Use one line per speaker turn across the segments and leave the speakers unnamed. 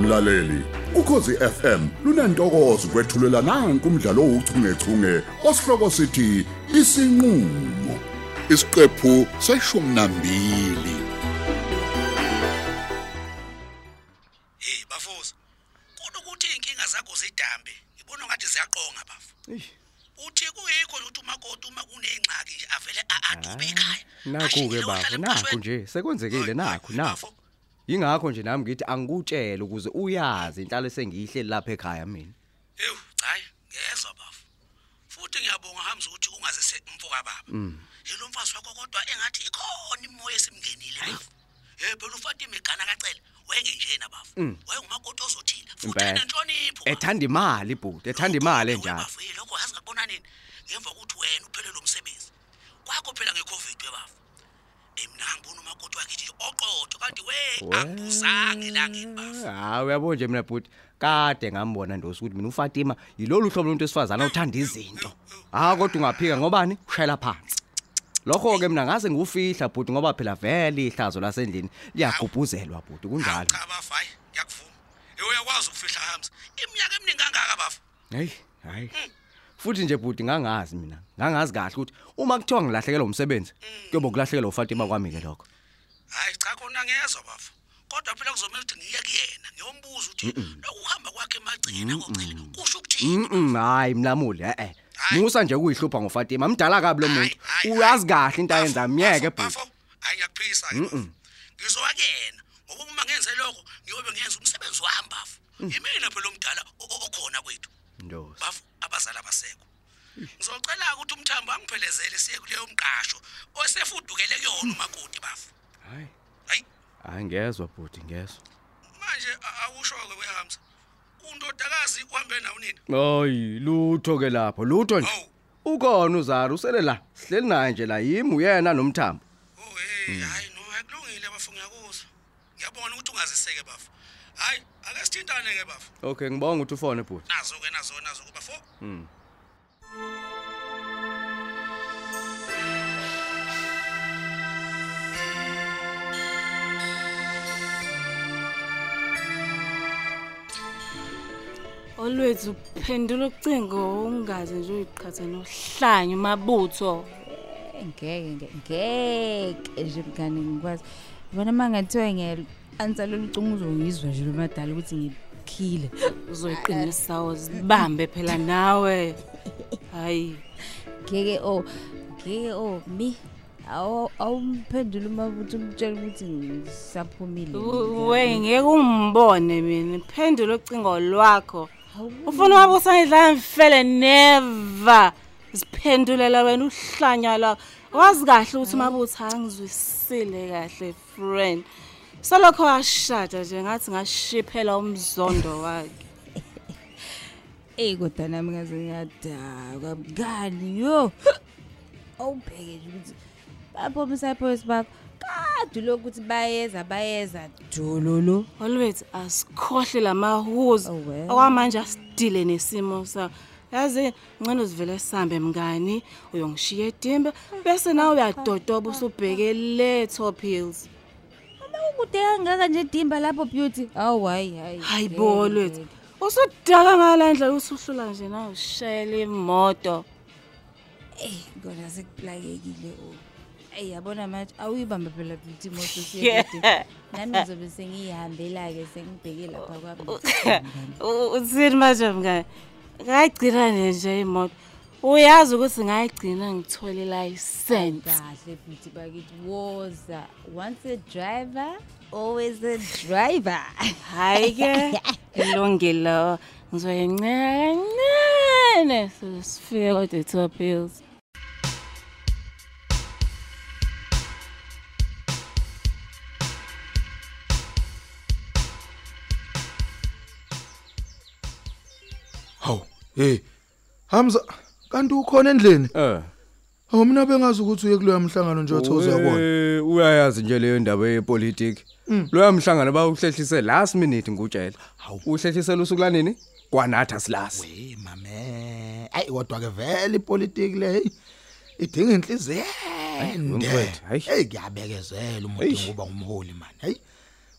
mlaleli ukhosi FM lunantokozo kwethulela nanku umdlalo ouchungechunge osihloko sithi isinqulo isiqephu seshumi nambili
Hey bafosa. Kunokuthi inkinga zakho zidambe. Ngibona ngathi ziyaqonga bafu.
Eish.
Uthi kuyikho ukuthi umakoti uma kunengxaki nje avele aadube
Ah,
ekhaya.
Nakho ke baba, nakho nje sekwenzekile nakho nakho. Yingakho nje nami ngithi angikutshela ukuze uyazi inhlalo sengiyihleli lapha ekhaya mina.
Ew, hayi, ngezwe bafu. Futhi ngiyabonga Hamza ukuthi ungazise mfoka baba.
Mm.
Yilo mfazi wakho kodwa engathi ikhona imoya esimngenile bafu. Hey phela uFatima igana kacela. Wenge njena bafu.
Mm.
Wayengumakoti ozothila. Futhi
Impela.
enenhlonipho. bafu.
Ethanda imali ibhuti, ethanda imali enjalo.
Bafu, yilokho azi ngakubona nini. Ngemva kokuthi wena uphelele umsebenzi. Kwakho phela ngeCovid webafu. Emna ngibona umakoti wakithi nje oqotho kanti we akuzange la ngibafu.
Ah uyabona nje mina bhuti, kade ngambona ndosi ukuthi mina uFatima yilolu hlobo lomuntu esifazana othanda izinto. Ha kodwa ungaphika ngobani? Ushayela phansi. Lokho ke mina ngase ngufihla bhuti ngoba phela vele ihlazo lasendlini liyagubhuzelwa bhuti kunjalo.
Cha bafu hayi, ngiyakuvuma. Ewe uyakwazi ukufihla Hamza. Iminyaka eminingi kangaka bafu.
Hey, hayi. Futhi nje bhuti ngangazi mina. Ngangazi kahle ukuthi uma kuthiwa ngilahlekelwa umsebenzi, kuyobe kulahlekelwa uFatima kwami ke lokho.
Hayi cha khona ngezwe bafu. Kodwa phela kuzomela ukuthi ngiye kuyena ngiyombuza ukuthi lokuhamba kwakhe emagcina kugcina kusho ukuthini.
Mhm, hayi mlamuli, eh eh.
Hhayi.
Musa nje kuyihlupha ngoFatima, mdala kabi lo muntu.
Hayi, hayi,
Uyazi
hayi.
kahle into ayenza
Bafo,
myeke
bafo,
bhuti.
bafo, Hayi ngiyakuphikisa ke. bafo. Ngizowakuyena ngoba uma ngenze lokho ngiyobe ngenza umsebenzi wami bafu.
Mm.
Yimina phela omdala o- o- okhona kwethu.
Ndosi.
Bafu abazali abasekho. Ngizocela ukuthi umthambo angiphelezele siye kuleyo mqasho osefudukele kuyona umakoti bafu.
Hayi.
Hayi
Hayi ngezwe bhuti, ngezwe.
manje a- akusho ke wehamza. Undodakazi uhambe nawo nini?
Hayi, lutho ke lapho, lutho nje.
Oh.
Ukhona uZara usele la. Sihleli naye nje la yimi uyena nomthambo.
Oh
Hmm.
hey hayi no akulungile bafu ngiyakuzwa. Ngiyabona ukuthi ungaziseke bafu. Hayi ake sithintane ke bafu.
Okay, ngibonga ukuthi ufone bhuti.
Nazo ke nazo nazo kuba fo.
Always uphendula ucingo ungaze nje uyiqhatha nohlanya umabutho.
ngeke nge- ngeke nje mngane ngikwazi yibona uma ngathiwa ngiya-ansa lolu cinga uzongizwa nje lomadala ukuthi ngiphile
Uzoyiqinisa uzibambe phela nawe. Hayi.
ngeke o ngeke o mi awu- awumphendule umabutho umtshela ukuthi ngisaphumile
u- We ngeke ungibone mina. Phendula ucingo lwakho.
Hawu,
Ufuna wabo sangidlala mfele never. Siphendulela wena uhlanya la. Wazi kahle ukuthi umabutho angizwisile kahle friend. Solokho ashada nje ngathi ngashiphela umzondo wakhe.
eyi kodwa nami ngaze ngiyadakwa mngani yo awubheke nje ukuthi baphomisa iphoyisi bakho kade lokhu ukuthi bayeza bayeza dololo
always asikhohle lamahuzu
Oh, well.
okwamanje asidile nesimo sa yazi ngcono sivele sihambe mngani uyongishiya edimba bese nawe uyadodoba usubheke le top heels
kude kangaka nje dimba lapho beauty awu hayi hayi Eh,
hayi
ngeke,
bo always
ngeke.
usudaka ngala ndlela usuhlula nje nawe ushayela imoto
eyi kona sekuplakekile o eyi yabona manje awuyibambe phela beauty moto
Yeah.
siyekade nami ngizobe sengiyihambela-ke sengibheke lapha
Oh.
kwami
U- uthini manje mngani ngayigcina nje nje imoto uyazi ukuthi ngayigcina ngithole license
kahle beauty bakithi woza once a driver always a driver
hayi ke ilungile ngizoyincela kancane Size sifike kodwa i-top hills
Haw, hey. Hamza, kanti ukhona endlini?
Eh.
Hawu mina bengazi ukuthi uye kuloya mhlangano nje othoza kuona.
Eh, uyayazi nje leyo ndaba yepolitiki
Mm.
loya mhlangano bawuhlehlise last minute ngutshela uhlehlisela usuku lanini kwanathi silasi
Hey mame, ayi kodwa ke vele ipolitiki le hey. Idinga inhliziyo ende.
mfowethu, hayi.
Hey ngiyabekezela umuntu ngoba ngumholi man. Hey.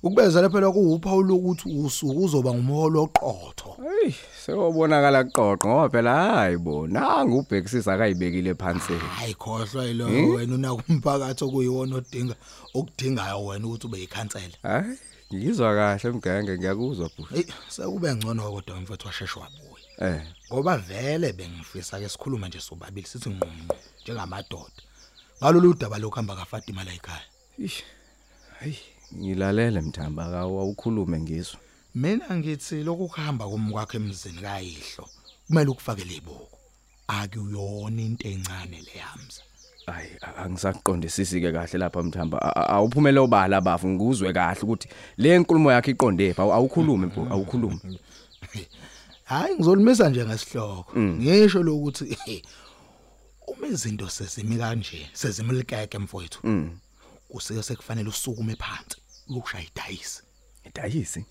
ukubezela phela kuwuphawu lokuthi usuku uzoba ngumholo oqotho
Hey, sewobonakala qoqo ngoba phela hayi bo, nangu ubhekisisa akayibekile phansi. Hmm?
hayi khohlwa yilowo wena unakumphakathi okuyiwona odinga okudingayo wena ukuthi ube yikhansela
Hayi, ngizwa kahle mgenge ngiyakuzwa bu.
eyi sekube ngcono kodwa mfethu washeshe wabuya
Eh,
ngoba vele bengifisa ke sikhulume nje sobabili sithi nqunqu njengamadoda ngalolu daba lokuhamba kaFatima la ekhaya
ish. Hayi, ngilalele mthamba akawa ukhulume ngizwa.
mina ngithi lokuhamba komkwakhe emzini kayihlo kumele ukufake lebuko akuyona into encane lehamza
Hayi, a- angisaqondisisi ke kahle lapha mthamba. A- a- Awuphumele obala bafu ngikuzwe kahle ukuthi le nkulumo yakhe iqonde pha. Awukhulume bu, awukhulume.
hayi ngizolimisa nje ngesihloko ngisho lokuthi uma izinto sesimi kanje sezimlikeke mfowethu kusike sekufanele usukume phansi uyokushaya idayisi
Idayisi.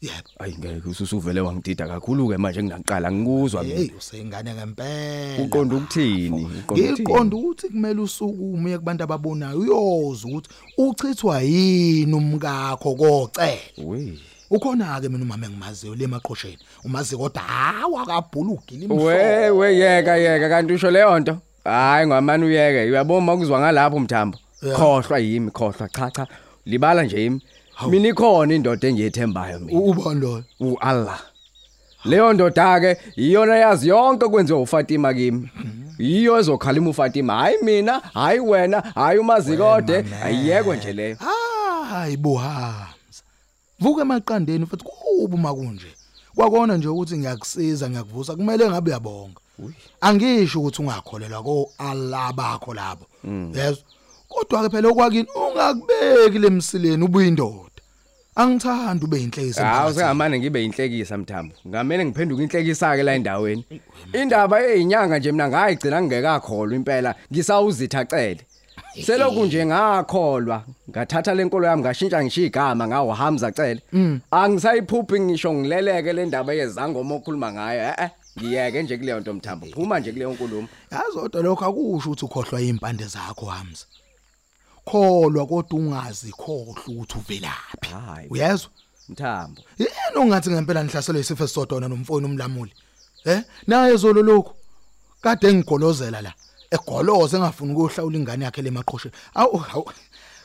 yebo
Hayi ngeke ususuvele wangidida kakhulu ke manje ngingaqala ngikuzwa mina.
hey usengane ngempela
Uqonda ukuthini?
ngiqonda ukuthi kumele usukume uye kubantu ababonayo uyoza ukuthi uchithwa yini umkakho kocela
Wey.
ukhona ke mina umama engimaziyo le maqhosheni umazi kodwa hawa kabhulu ugila
We
imhlo
we yeka yeka kanti usho leyo nto. Hayi ngamani uyeke. Uyabona ukuzwa ngalapho mthambo. Khohlwa yimi khohlwa cha cha. Libala nje yimi. Mina ikhona indoda engiyethembayo mina.
ubani lo
U Allah. Leyo ndoda ke iyona yazi yonke kwenziwa uFatima kimi. Yiyo ezokhalima uFatima. Hayi mina, hayi wena, hayi umazikode. Ayiyekwe nje leyo.
hayi buhamza vuka emaqandeni futhi kuba uma kunje kwakona nje ukuthi ngiyakusiza ngiyakuvusa kumele ngabe uyabonga angisho ukuthi ungakholelwa ko Allah bakho labo
Mm.
yezwa kodwa ke phela okwakini ungakubeki lemsileni ubuyindoda angithandi ube inhlekisa
Hawu
emphakathini.
sengamane ngibe inhlekisa mthambo. Ngamene ngiphenduke inhlekisa ke la endaweni. Indaba eyinyanga nje mina ngayigcina ngingekakholwa impela. Ngisawuzithacele. Seloku nje ngakholwa. Ngathatha lenkolo yami ngashintsha ngisho igama ngawo Hamza cele. Angisayiphuphi ngisho ngileleke le ndaba yezangoma okhuluma ngayo. Eh eh. Ngiyeke nje kuleyo nto mthambo. Phuma nje kuleyo nkulumo.
yazi kodwa lokho akusho ukuthi ukhohlwa impande zakho Hamza kholwa kodwa ungazi khohlwa ukuthi uvelaphi
Hayi.
uyezwa
Mthambo.
yena ongathi ngempela nihlaselwe isifo esisodona nomfoni umlamuli eh naye zolo lokho kade engigolozela la egoloze engafuni ukuhlawula ingane yakhe lemaqhosheni awu awu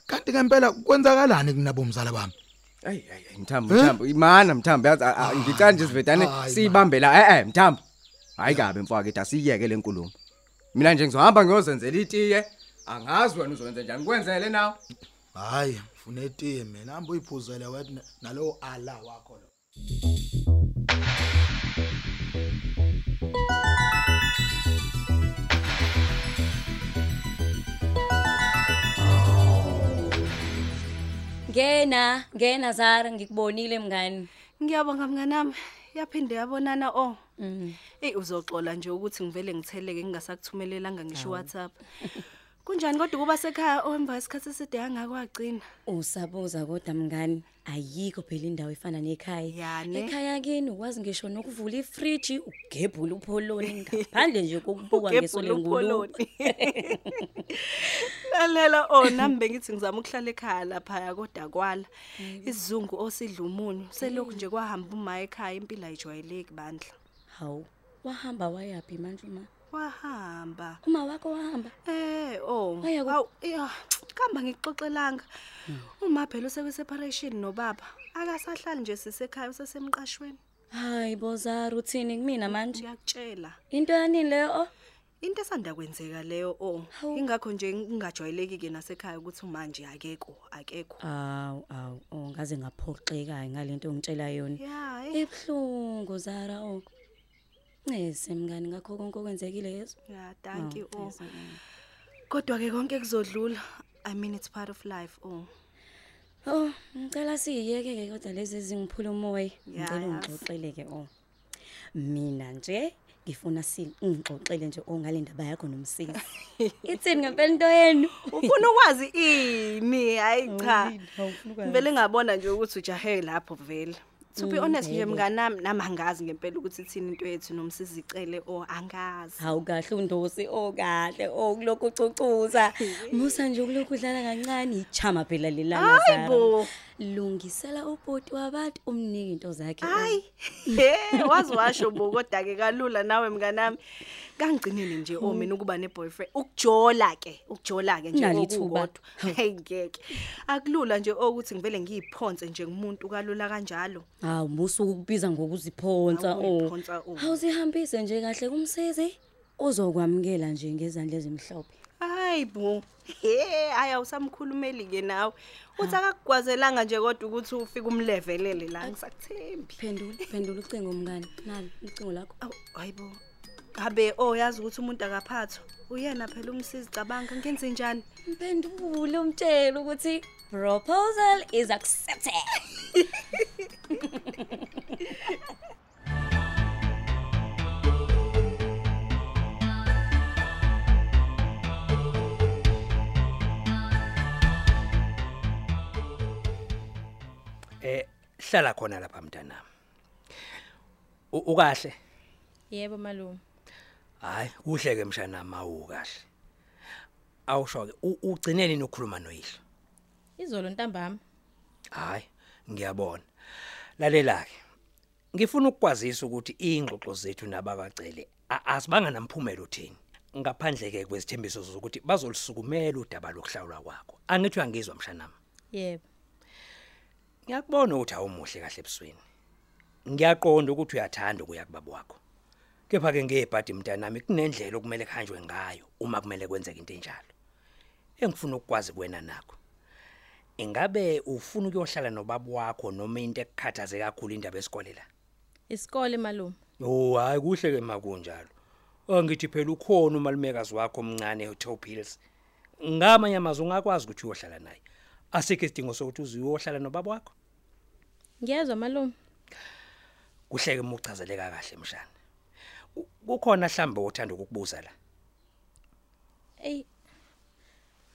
kanti ngempela kwenzakalani kunabo mzala bami
Ey ey ey, mthambo mthambo. Imana mthambo yazi a- a- ngicanje isivetane
hayi,
siyibambe la. Eh eh mthambo. Hayi kabe mfake da siyeke le nkulumo. Mina nje ngizohamba ngiyozenzela itiye. Angazi wena uzokwenza njani. Ngikwenzele nawe.
hayi mfuna etiye mina hamba uyiphuzele wena nalowo ala wakho lo
Ngena, ngena Zara ngikubonile mngani.
Ngiyabonga mnganami. Yaphinde yabonana oh. Mhm. Ey uzoxola nje ukuthi ngivele ngitheleke ngingasakuthumelelanga ngisho WhatsApp. Kunjani kodwa kuba sekhaya owemva isikhathi eside angakwagcina?
Usabuza kodwa mngani, ayikho phela indawo efana nekhaya.
Yani.
Ekhaya kini wazi ngisho nokuvula ifridge, ugebhula upholoni ngaphandle nje kokubuka
Ugebhula
ngesolengulu.
upholoni. Lalela oh nami bengithi ngizama ukuhlala ekhaya lapha kodwa kwala. Isizungu osidla umunyu selokhu nje kwahamba uma ekhaya impilo ayijwayeleki bandla.
Hawu, wahamba wayapi manje uma?
Wahamba.
Uma wakho wahamba.
Eh oh.
Waya ku-
Awu ya kamba ngikuxoxelanga. Uma phela usewe separation nobaba. Akasahlali nje sisekhaya usesemqashweni.
Hayi bozara uthini kumina manje?
Ngiyakutshela.
Into yanini leyo? oh?
Into esanda kwenzeka leyo oh.
Hawu.
Ingakho nje ngingajwayeleki ke nasekhaya ukuthi manje akekho, akekho.
Aw, aw, oh ngaze ngaphoxeka ngalento ongitshela yona.
Yeah. eh.
Ebhlungu Zara oh. Nese mngani ngakho konke okwenzekile yezo.
Yeah, thank you oh. Kodwa ke konke kuzodlula. I mean it's part of life oh.
Oh, ngicela siyeke ke kodwa lezi zingiphula umoya.
Ya,
Ngicela
ya.
ungixoxele ke oh. Mina nje ngifuna si ungixoxele nje ongalendaba yakho nomsisi. Ithini ngempela into yenu?
Ufuna ukwazi ini? Hayi cha.
Awufuni ukwazi.
Ngivele ngabona nje ukuthi ujahe lapho vele. to be honest nje mnganami nami angazi ngempela ukuthi ithini into yethu nomsizi icele or angazi
hawu kahle undosi okahle okulokhu ucucuza musa nje ukulokhu udlala kancane ichama phela lelanga
hayi
zalo
bo
lungisela ubhoti wabantu umnike into zakhe
hayi he waziwasho bo kodwa ke kalula nawe mnganami kangigcinile nje o mina ukuba neboyfriend ukujola ke ukujola ke nje
Nalo ithuba.
okukodwa hey ngeke akulula nje oh, ukuthi ngivele ngiyiphonse nje ngumuntu kalula kanjalo
hawu musa ukubiza ngokuziphonsa o
Awukuyiphonsa, oh.
awuzihambise nje kahle kumsizi uzokwamukela nje ngezandla ezimhlophe
hayi bo he hayi awusamkhulumeli-ke nawe uthi akakugwazelanga nje kodwa ukuthi ufike umlevelele la ngisakuthembi
phendula phendula ucingo mngani nalo ucingo lakho
Awu, hayi bo abe o yazi ukuthi umuntu akaphathwa uyena phela umsizi cabanga ngenze njani
mphendule umtshela ukuthi proposal is accepted
Eh hlala khona lapha mntanami. U- Ukahle?
yebo malume
Hayi, kuhle ke mshanami awu kahle. Awusho ke u- ugcineni nokukhuluma noyihlo.
izolo ntambama
Hayi, ngiyabona. Lalela ke. Ngifuna ukukwazisa ukuthi ingxoxo zethu nababacele a- asibanga namphumelo thini. Ngaphandle ke kwezithembiso zokuthi bazolisukumela udaba lokuhlawula kwakho. Angithi uyangizwa mshanami.
yebo
Ngiyakubona ukuthi awumuhle kahle ebusweni. Ngiyaqonda ukuthi uyathanda ukuya kubaba wakho. Kepha ke ngebhadi mntanami kunendlela okumele kuhanjwe ngayo uma kumele kwenzeke into enjalo. Engifuna ukukwazi kuwena nakho. Ingabe ufuna ukuyohlala nobaba wakho noma into ekukhathaze kakhulu indaba esikole la?
isikole malume
Oh hayi kuhle ke makunjalo. Angithi phela ukhona umalumekazi wakho omncane eTop Hills. Ngamanye amazwi ungakwazi ukuthi uyohlala naye. Asikho isidingo sokuthi uziyohlala nobaba wakho.
ngiyezwa malume
kuhleke umuchazeleka kahle mshana U- kukhona mhlambe othanda ukukubuza la
eyi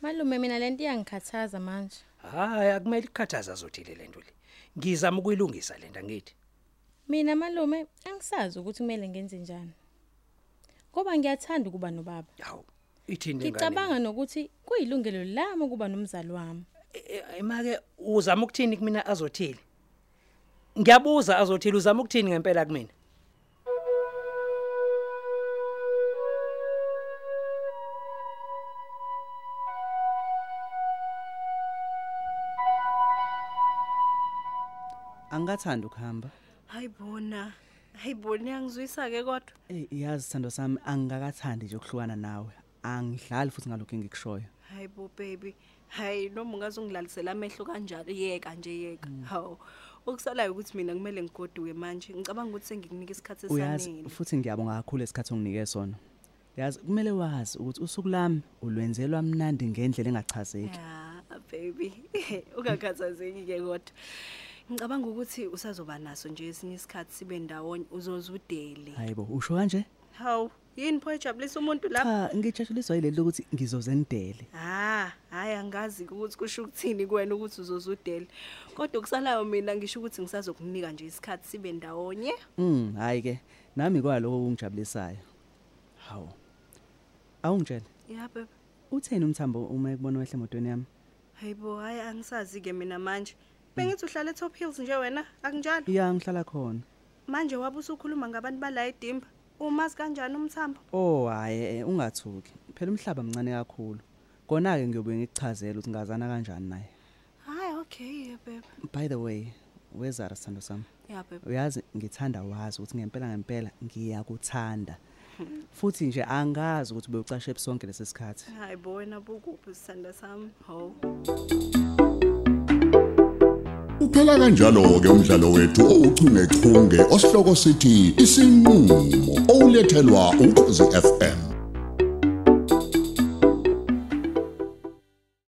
malume mina lento iyangikhathaza manje
hayi akumele ikhathaza zothile lento le ngizama ukuyilungisa lenta ngithi
mina malume angisazi ukuthi kumele ngenze njani ngoba ngiyathanda ukuba nobaba
hawu ithini
ngicabanga nokuthi kuyilungelo lami ukuba nomzali wami
imake eh, uzama ukuthini kumina azothile ngiyabuza azothile uzama ukuthini ngempela kumina
angikathandi ukuhamba
hayi bona hayi bona iyangizwisa-ke kodwa
eyi yazi sithando sami angikakathandi nje ukuhlukana nawe angidlali futhi ngalokhu engikushoyo
hayi bo baby hayi noma ungaze ungilalisela amehlo kanjalo yeka nje yeka hawu okusalayo ukuthi mina kumele ngigoduke manje ngicabanga ukuthi sengikunika isikhathi
uyazi
esanele
futhi ngiyabonga kakhulu lesikhathi onginike sona yazi kumele wazi ukuthi usuku lami ulwenzelwa mnandi ngendlela engachazeki
ya baby ungakhathazeki-ke kodwa ngicabanga ukuthi usazoba naso nje esinye isikhathi sibe ndawonye uzoze udele
hayibo usho kanje
hawu yini pho ejabulisa umuntu lapha
cha ngijatshuliswa yileli lokuthi ngizoze nidele
ha Ah, hhayi angazi-ke ukuthi kusho ukuthini kwena ukuthi uzoze udele kodwa okusalayo mina ngisho ukuthi ngisazokunika nje isikhathi sibe ndawonye
um hhayi-ke nami kwaloko kungijabulisayo hawu awungitshele
ya bebe
utheni umthambo uma ekubona wehle emotweni yami Mm.
hayi bo hhayi angisazi-ke mina manje bengithi uhlala etop hills nje wena akunjalo
ya ngihlala khona
manje wabe usukhuluma ngabantu bala edimba umazi kanjani umthambo
oh hhayi ungathuki phela umhlaba mncane kakhulu kona-ke ngiyobuye ngikuchazela ukuthi ngazana kanjani naye
hhayi okay ya bebe
by the way wezara sithando sami
ya bebe
uyazi ngithanda wazi ukuthi ngempela ngempela ngiyakuthanda
Hmm.
futhi nje angazi ukuthi bewucashe ebusonke lesi sikhathi
hayi bo wena bukuphi sithanda sami hawu
Uphela kanjalo ke umdlalo wethu owuchungechunge osihloko sithi isinqulo owulethelwa ukhozi FM.